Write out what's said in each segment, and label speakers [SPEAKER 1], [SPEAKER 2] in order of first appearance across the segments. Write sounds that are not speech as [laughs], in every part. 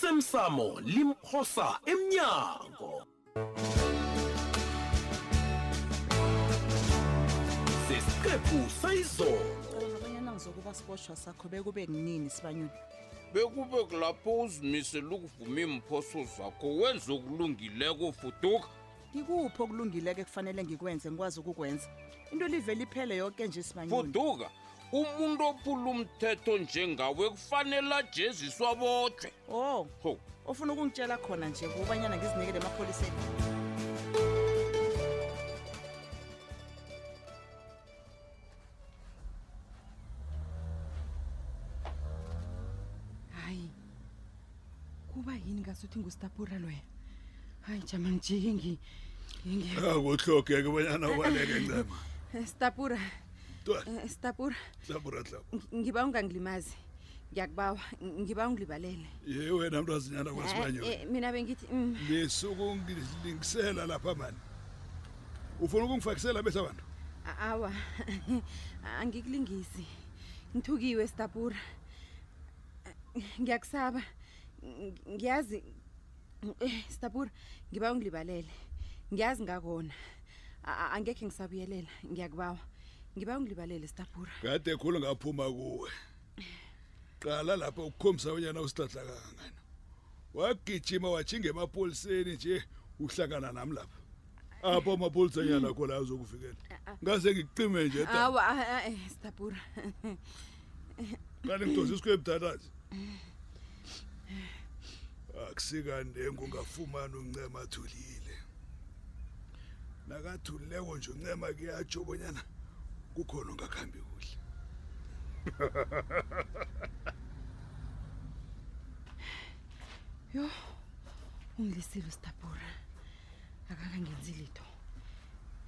[SPEAKER 1] osemsamo limphosa emnyango sesiqephu sayizolo
[SPEAKER 2] cabanga abanyana ngizokuba siboshwa sakho bekube kunini sibanyula
[SPEAKER 3] bekube kulapho uzimisele ukuvuma iimphoso zakho wenze okulungileko fuduka
[SPEAKER 2] ngikuphi okulungileke kufanele ngikwenze ngikwazi ukukwenza into livele iphele yonke nje
[SPEAKER 4] Mm.
[SPEAKER 2] sibanyula
[SPEAKER 3] fuduka umuntu ophula umthetho njengawe kufanele ajeziswa bodwe
[SPEAKER 2] o
[SPEAKER 3] ho
[SPEAKER 2] ofuna ukungitshela khona nje kubanyana ngizinikele emapholiseni
[SPEAKER 5] hayi kuba yini ngasuthi ngustapura loya hayi jama ngijike ngi- ngi-
[SPEAKER 6] akuhlogeke bonyana ubaleke ncema
[SPEAKER 5] Eh, stapura
[SPEAKER 6] twana
[SPEAKER 5] eh, stapura
[SPEAKER 6] sabura tlabo
[SPEAKER 5] ng- ngiba ungangilimazi ngiyakubawa ng- ngiba ungilibalele
[SPEAKER 6] ye wena mntazinyana kwasibanyoni
[SPEAKER 5] Eh, eh, mina bengithi mm,
[SPEAKER 6] nisukungilingisela lapha mani ufuna ukungifakisela bese abantu
[SPEAKER 5] a- awa [laughs] angikulingisi ngithukiwe stapura ngiyakusaba ng- ngiyazi eh, stapura ngiba ungilibalele ngiyazi ngakona A- a- angekhe ngisabuyelela ngiyakubawa ngiba ungilibalele stapura
[SPEAKER 6] kade khulu ngaphuma kuwe qala lapha ukukhombisa bonyana usihlatla kangangani wagijima watshinga emapoliseni nje uhlangana nami lapha apho amapolisanyana akho la azokuvikela ngase ngikucime nje da
[SPEAKER 5] awa a- a- eh, stapura
[SPEAKER 6] kanti ngidosa isikho ebudalazi akusikandengo ungafumani uncema athulile nakathulileko nje uncema kuyatsho bonyana kukhona ongakhambi kuhle
[SPEAKER 5] yo ungilisile ustapura akangangenzi litho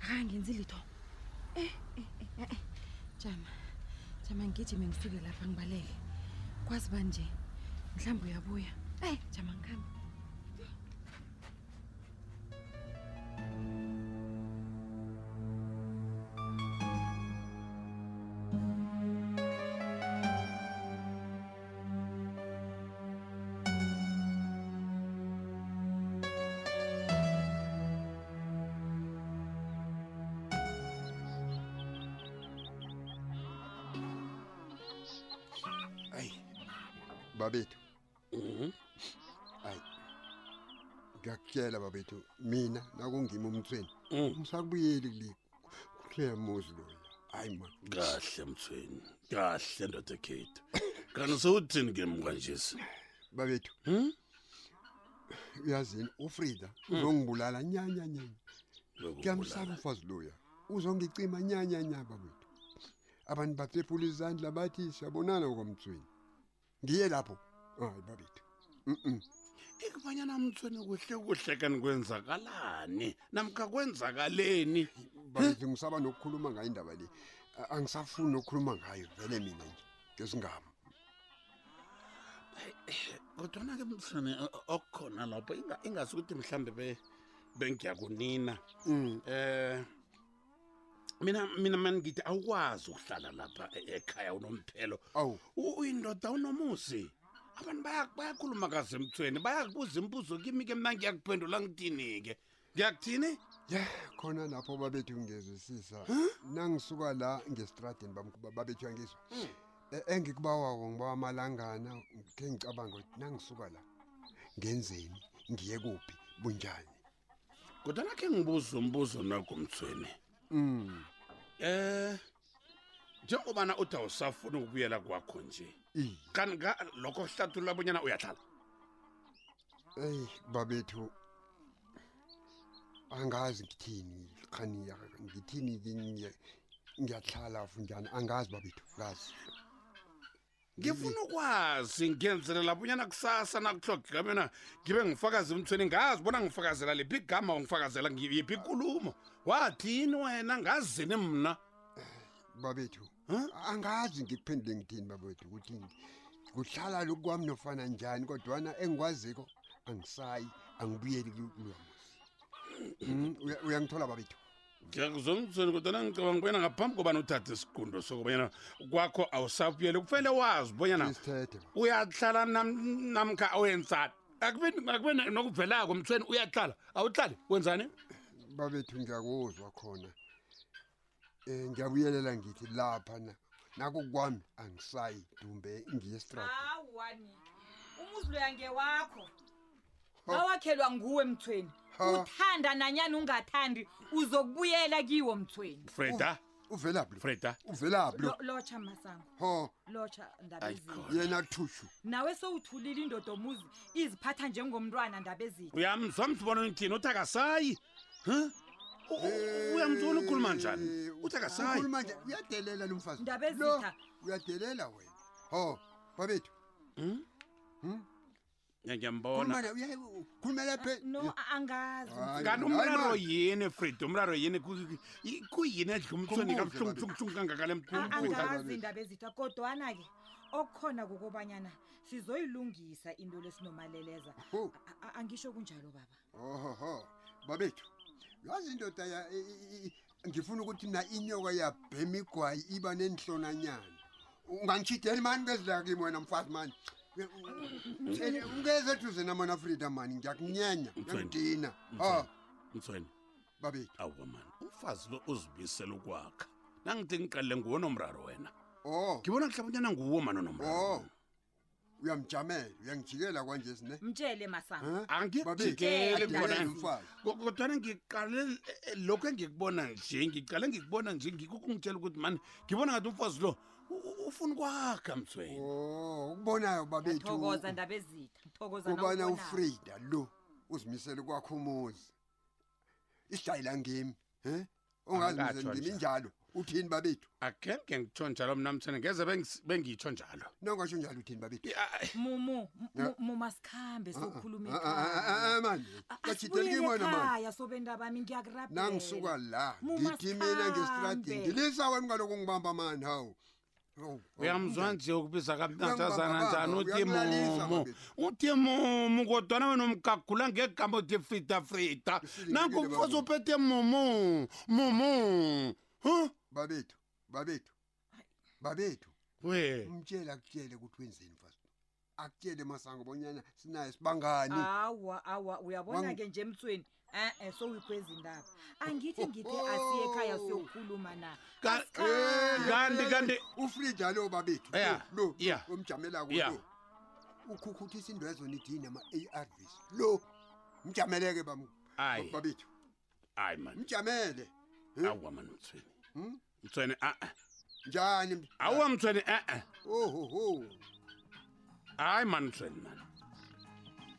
[SPEAKER 5] akangangenzi litho Eh, eh, eh, eh, eh. jama jama ngigijime ngisuke lapha ngibaleke kwazi ba nje mhlawumbe uyabuya eyi jama ngihambe
[SPEAKER 7] ayi babethu ayi ngiyakutshela babethu mina nakungima umthweni ngisakubuyeli kule kuleyamuzi loya hayi ma
[SPEAKER 1] kahle mthweni kahle ndoda ekhethu kanti sewuthini ke mkanjesi
[SPEAKER 7] babethu uyazini ufrida uzongibulala nyanyanyanya ngiyamsaba umfazi loya uzongicima nyanyanya babethu abantu bathephula izandla bathi siyabonana kwamthweni ngiye lapho hayi babethu mm
[SPEAKER 1] ikubanyana mthweni kuhle kuhle kanti kwenzakalani namkha kwenzakaleni
[SPEAKER 7] bayithi ngisaba nokukhuluma ngayo indaba le A- angisafuni nokukhuluma ngayo vele mina nje ngesingami
[SPEAKER 1] kodwana ke mthweni o- okukhona lapho inga- ingasi ukuthi mhlawumbe be- bengiyakunina
[SPEAKER 7] Mm.
[SPEAKER 1] eh mina mina mani ngithi awukwazi ukuhlala lapha e- ekhaya unomphelo
[SPEAKER 7] awu
[SPEAKER 1] U- uyindoda unomusi abantu baya- bayakhuluma kazemthweni bayakubuza imibuzo kimi ke mna ngiyakuphendula ngithini-ke ngiyakuthini
[SPEAKER 7] ya khona lapho babethu ngezwisisa nangisuka la ngesitradini bam- babethu yangizwa E- engikubawako ngibawa amalangana khe ngicabanga ukuthi nangisuka la ngenzeni ngiye kuphi bunjani
[SPEAKER 1] kodwana khe ngibuza umbuzo nagumthweni
[SPEAKER 7] Mm,
[SPEAKER 1] eh njengobana uthi awusafuni ukubuyela kwakho nje
[SPEAKER 7] iye.
[SPEAKER 1] kanti nga- lokho kuhlathulula bonyana uyahlala
[SPEAKER 7] eyi babethu angazi ngithini khani ngithini ngiya- ngiyahlala funjani angazi babethu ngazi
[SPEAKER 1] ngifuna ukwazi ngenzelela bonyana kusasa nakuhlogeka mina ngibe ngifakazi emthweni ngazi bona ngifakazela liphi igama ongifakazela ngi- yiphi ikulumo wathini wena ngazini mna
[SPEAKER 7] babethu
[SPEAKER 1] Huh?
[SPEAKER 7] angazi ngikuphendule ngithini babethu ukuthi ngi- kuhlala lokhu kwami nofana njani kodwana engikwaziko
[SPEAKER 1] Hmm?
[SPEAKER 7] angisayi angibuyeli kulomuzi uyangithola babethu
[SPEAKER 1] ngiyakuzona mthweni kodwana ngicabanga ubonyana ngaphambi kobana uthathe isiqundo sokubonyana kwakho awusabuyele kufanele wazi ubonyana
[SPEAKER 7] isithethe
[SPEAKER 1] uyahlala nam- namkha awenzani akube akube ne- nokuvelako mthweni uyahlala awuhlali wenzani
[SPEAKER 7] babethu ngiyakuzwa khona um ngiyabuyelela ngithi lapha na nako kwami angisayi dumbe ngiye estrat
[SPEAKER 8] awani umuzi loya ngewakho awakhelwa nguwe mthweni uthanda nanyani ungathandi uzokubuyela kiwo mthweni
[SPEAKER 1] freda
[SPEAKER 7] uvelaphi
[SPEAKER 1] freda
[SPEAKER 7] uvelaphi lo
[SPEAKER 8] Lo- lotsha masango
[SPEAKER 7] ho
[SPEAKER 8] lotsha ndabezini
[SPEAKER 1] Ayikho.
[SPEAKER 7] yena thushu
[SPEAKER 8] nawe sowuthulile indoda omuzi iziphatha njengomntwana ndabezini
[SPEAKER 1] uyamzwa mthibona unithini uthi akasayi Huh? U- u- uyamzona ukhuluma njani
[SPEAKER 7] Eh,
[SPEAKER 1] uthi akasayi
[SPEAKER 7] ukhuluma nje uyadelela lo mfazi
[SPEAKER 8] Ndaba
[SPEAKER 7] Lo,
[SPEAKER 8] ezitha.
[SPEAKER 7] uyadelela wena ho babethu
[SPEAKER 1] Ya, ngiyambona
[SPEAKER 7] khulumana uya- u- khulumela phe
[SPEAKER 8] Ah, no ah. a- angazi
[SPEAKER 7] Hayi,
[SPEAKER 1] kanti
[SPEAKER 7] hayi,
[SPEAKER 1] umraro
[SPEAKER 7] man.
[SPEAKER 1] yini freda umraro yini Ku- ku- i- kuyini edla umthweni
[SPEAKER 7] Khumbuze,
[SPEAKER 1] kabuhlunguhlunguhlungu kangakale
[SPEAKER 8] A-
[SPEAKER 1] mthweni
[SPEAKER 8] angazi
[SPEAKER 7] babe.
[SPEAKER 8] indaba ezitha kodwana-ke okukhona kokobanyana sizoyilungisa into lesinomaleleza
[SPEAKER 7] Ho.
[SPEAKER 8] A- a- angisho kunjalo baba
[SPEAKER 7] ohoho babethu yazi indoda ya- i- i- i- ngifuna ukuthi mna inyoka yabhema igwayi iba nenhlonanyana ungangishideli mani bezilakimi wena mfazi mani
[SPEAKER 8] Mm.
[SPEAKER 7] ungeze eduze namona frida mani ngiyakunyenya
[SPEAKER 1] Mthweni.
[SPEAKER 7] ngiyakudina ho
[SPEAKER 1] mthweni
[SPEAKER 7] babethu
[SPEAKER 1] awa mani umfazi lo uzibuyisele ukwakha nangithi ngiqalele nguwo nomraro wena
[SPEAKER 7] o
[SPEAKER 1] ngibona mhlawumbanyana nguwo mani onomraro
[SPEAKER 7] o uyamjamela Oh, uyangijikela kwanje sine
[SPEAKER 8] mtshele masango
[SPEAKER 1] angijikeli
[SPEAKER 8] Babethu,
[SPEAKER 1] kubona
[SPEAKER 8] adelela
[SPEAKER 7] mfazi.
[SPEAKER 1] Ko- kodwana ngiqale eh, lokhu engikubona nje ngiqale ngikubona nje ngikho kungitshela ukuthi mani ngibona ngathi umfazi lo u- u- ufuna ukwakha mthweni
[SPEAKER 7] o ukubonayo babethu
[SPEAKER 8] thokoza ndaba ezitha thokoza
[SPEAKER 7] kubana
[SPEAKER 8] nawubonako.
[SPEAKER 7] ufrida lo uzimisele kwakho umuzi isitayila ngimi um
[SPEAKER 1] Angikatjho
[SPEAKER 7] ongazimisele ngimi
[SPEAKER 1] njalo.
[SPEAKER 7] njalo uthini babethu
[SPEAKER 1] akenge ngitsho njalo mna mthweni ngeze bengi- bengitsho njalo
[SPEAKER 7] nongasho njalo uthini babethu
[SPEAKER 8] mumu
[SPEAKER 7] Ya. Ah,
[SPEAKER 8] mumasikhambe sokhuluma
[SPEAKER 7] mani kajideli ah, kimi wena mani
[SPEAKER 8] ah, ekhaya sobenda bami ngiyakurabhela
[SPEAKER 7] nangisuka la
[SPEAKER 8] Muma
[SPEAKER 7] ngithi mina ngesitradini
[SPEAKER 8] sikhambe.
[SPEAKER 7] ngilisa wena kaloku ngibamba mani hawu Hawu,
[SPEAKER 1] Oh,
[SPEAKER 7] hawu.
[SPEAKER 1] uyamzwa nje ukubiza kamnatshazana
[SPEAKER 7] Uyangibamba
[SPEAKER 1] njani
[SPEAKER 7] baba,
[SPEAKER 1] uthi
[SPEAKER 7] uyangilalisa
[SPEAKER 1] mumu
[SPEAKER 7] babethu.
[SPEAKER 1] uthi mumu kodwana wena umgagula ngegama uthi frida frida
[SPEAKER 7] Isilingekile
[SPEAKER 1] nanku
[SPEAKER 7] baba.
[SPEAKER 1] mfazi uphethe mumu mumu Huh?
[SPEAKER 7] babethu babethu babethu
[SPEAKER 1] we
[SPEAKER 7] umtshele akutshele ukuthi wenzeni mfazi akutshele masango bonyana sinaye sibangani
[SPEAKER 9] Ah.
[SPEAKER 8] awa awa uyabona
[SPEAKER 7] Wangi-
[SPEAKER 8] ke nje emtsweni Eh, e-e sowuyikhwezi indaba angithi
[SPEAKER 7] Oh,
[SPEAKER 8] ngithi asiye ekhaya siyokhuluma na
[SPEAKER 1] Ka-
[SPEAKER 7] Eh,
[SPEAKER 8] Asikhambe.
[SPEAKER 1] kanti kanti
[SPEAKER 7] ufrida lo babethu Eh,
[SPEAKER 1] Yeah,
[SPEAKER 7] lo lo,
[SPEAKER 1] yeah.
[SPEAKER 7] lo omjamelako
[SPEAKER 1] Yeah.
[SPEAKER 7] lo ukhukhuthisa indwezo nidini ama-arvs lo mjameleke bam
[SPEAKER 1] Ayi.
[SPEAKER 7] babethu
[SPEAKER 1] hayi mani
[SPEAKER 7] mjamele
[SPEAKER 1] awa mani mthweni mthweni a-e
[SPEAKER 7] njani
[SPEAKER 1] awa mthweni e-e
[SPEAKER 7] ohoho
[SPEAKER 1] hayi mani mthweni mani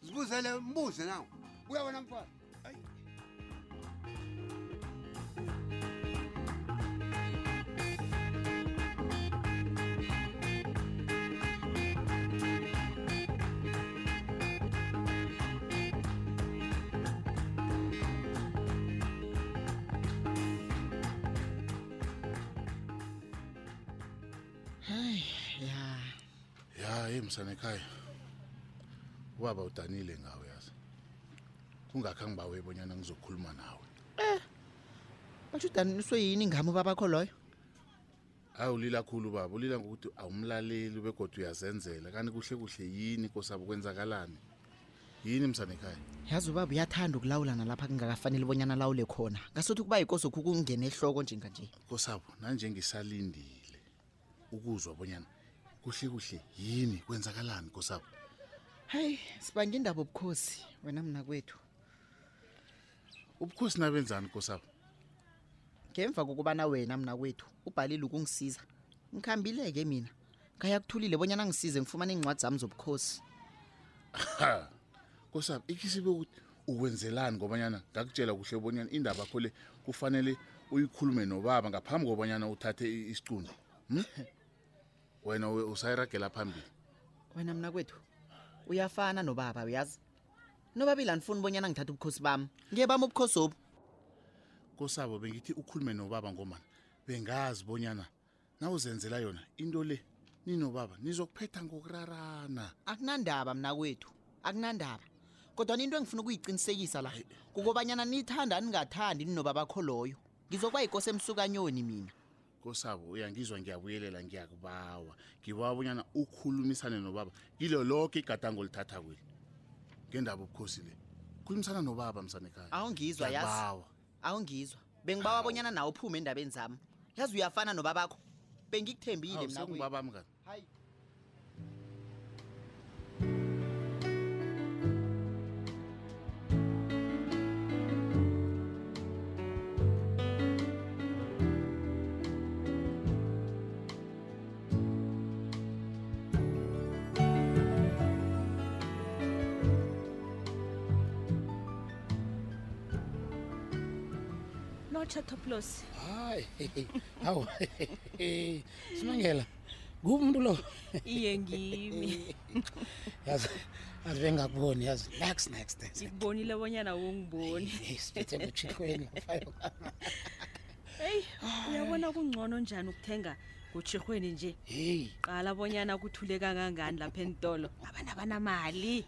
[SPEAKER 7] zibuzele mbuze nawo uyabona mfana
[SPEAKER 2] hayi ya
[SPEAKER 10] ya hey msana ekhaya ubaba udanile ngawe yazi kungakho angibawe bonyana ngizokhuluma nawe
[SPEAKER 2] bajudaniswe yini ngami ubabakho loyo
[SPEAKER 10] hayi ulila khulu baba ulila ngokuthi awumlaleli begodwa uyazenzela kanti kuhle kuhle yini kosabo kwenzakalani yini msana ekhaya
[SPEAKER 9] yazi ubaba uyathanda ukulawula nalapha kungakafanele bonyana alawule khona ngasuthi ukuba yikosokhu kungena ehloko njenganje
[SPEAKER 10] kosabo nanjengisalindile ukuzwa bonyana kuhle kuhle yini kwenzakalani kosabo
[SPEAKER 9] hayi sibanga indaba obukhosi wena mna kwethu
[SPEAKER 10] ubukhosi nabenzani kosabo
[SPEAKER 9] ngemva kokubana wena mna kwethu ubhalile ukungisiza ngikhambile-ke mina ngaya kuthulile bonyana ngisize ngifumane iincwadi zami zobukhosi
[SPEAKER 10] ha kosabo ikisibe ukuthi ukwenzelani ngobanyana ngakutshela kuhle bonyana indaba kho le kufanele uyikhulume nobaba ngaphambi kobanyana uthathe i- isicundo
[SPEAKER 9] [laughs]
[SPEAKER 10] hmm? wena we- usayiragela phambili
[SPEAKER 9] wena mna kwethu uyafana nobaba uyazi nobabili anifuni bonyana ngithathe ubukhosi bami ngiye bami ubukhosi obu
[SPEAKER 10] kosabo bengithi ukhulume nobaba ngomana bengazi bonyana nawuzenzela yona into le ninobaba nizokuphetha ngokurarana
[SPEAKER 9] akunandaba mna kwethu akunandaba kodwa into engifuna ukuyiqinisekisa la kukobanyana nithanda ningathandi ninobabakho loyo ngizokuba yikosi emsukanyoni mina
[SPEAKER 10] kosabo uyangizwa ngiyabuyelela ngiyakubawa ngibawa bonyana ukhulumisane nobaba kilo lonke igadango lithatha kweli ngendaba ubukhosi le khulumisana nobaba msanekhaya
[SPEAKER 9] Awungizwa, yazi.
[SPEAKER 10] Ngiyakubawa.
[SPEAKER 9] awungizwa bengibawa bonyana nawe uphume endabeni zami yazi uyafana nobabakho bengikuthembile
[SPEAKER 10] Awu,
[SPEAKER 9] mna kuwe.
[SPEAKER 10] sekungubaba mngani
[SPEAKER 9] Hayi.
[SPEAKER 11] notsha toplos
[SPEAKER 4] hayi hawu simangela ngumuntu lo
[SPEAKER 8] [laughs]
[SPEAKER 11] iye ngimi
[SPEAKER 4] yazi yazi bengakuboni yazi next next next
[SPEAKER 11] ngikubonile bonyana wongiboni
[SPEAKER 4] siphethe ngutshikweni
[SPEAKER 11] heyi uyabona kungcono njani ukuthenga ngutshirhweni nje
[SPEAKER 4] heyi
[SPEAKER 11] qala bonyana kuthule kangangani lapha entolo abantu abanamali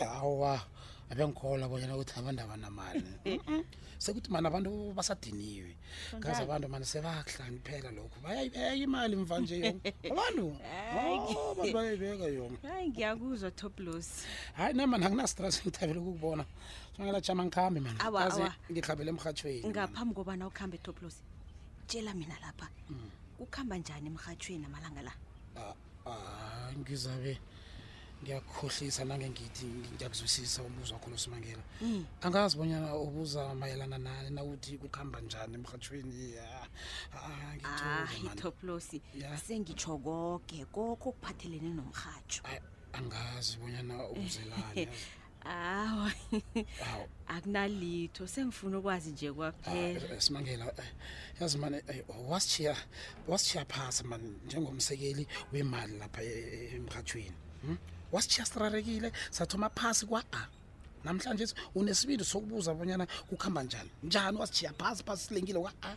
[SPEAKER 4] hawa abengikholwa bonyana ukuthi abantu
[SPEAKER 11] [laughs]
[SPEAKER 4] abanamali Mm-mm. sekuthi mani abantu basadiniwe kaze
[SPEAKER 11] Sonjalo.
[SPEAKER 4] abantu mani sebakuhlaniphela lokhu bayayibeka imali mva nje yonke
[SPEAKER 11] [laughs]
[SPEAKER 4] abantu
[SPEAKER 11] Hayi.
[SPEAKER 4] oh, abantu bayayibeka yona
[SPEAKER 11] hayi ngiyakuzwa toplos
[SPEAKER 4] hayi na mani anginastress ngithabele ukukubona simangela jama ngikhambe mani
[SPEAKER 11] Awa,
[SPEAKER 4] kaze
[SPEAKER 11] awa.
[SPEAKER 4] ngihlabele emrhatshweni
[SPEAKER 11] ngaphambi kobana ukuhambe toplos tshela mina lapha
[SPEAKER 8] Hmm.
[SPEAKER 11] kukuhamba njani emrhatshweni amalanga la
[SPEAKER 4] Ah, ah, ngizabe ngiyakukhohlisa nange ngithi ngiyakuzwisisa umbuzo wakho losimangela
[SPEAKER 11] Mm.
[SPEAKER 4] angazi bonyana ubuza mayelana nani nawuthi kukuhamba njani Ah, emrhatshweni ya
[SPEAKER 5] Ah,
[SPEAKER 11] hayi toplos sengitsho koke koko okuphathelene nomrhatsho
[SPEAKER 4] angazi bonyana
[SPEAKER 5] [laughs]
[SPEAKER 4] ubuzelani
[SPEAKER 11] [laughs] awa akunalitho sengifuna ukwazi nje kwaphela
[SPEAKER 4] Eh, simangela eh, yazi mani eh, wasitshiya wasitshiya phasi mani njengomsekeli wemali lapha e- e- emrhatshweni hm? wasitshiya sirarekile sathoma phasi kwa-a namhlanje si- unesibindi sokubuza bonyana kukuhamba njani njani wasitshiya phasi phasi silengile kwa-a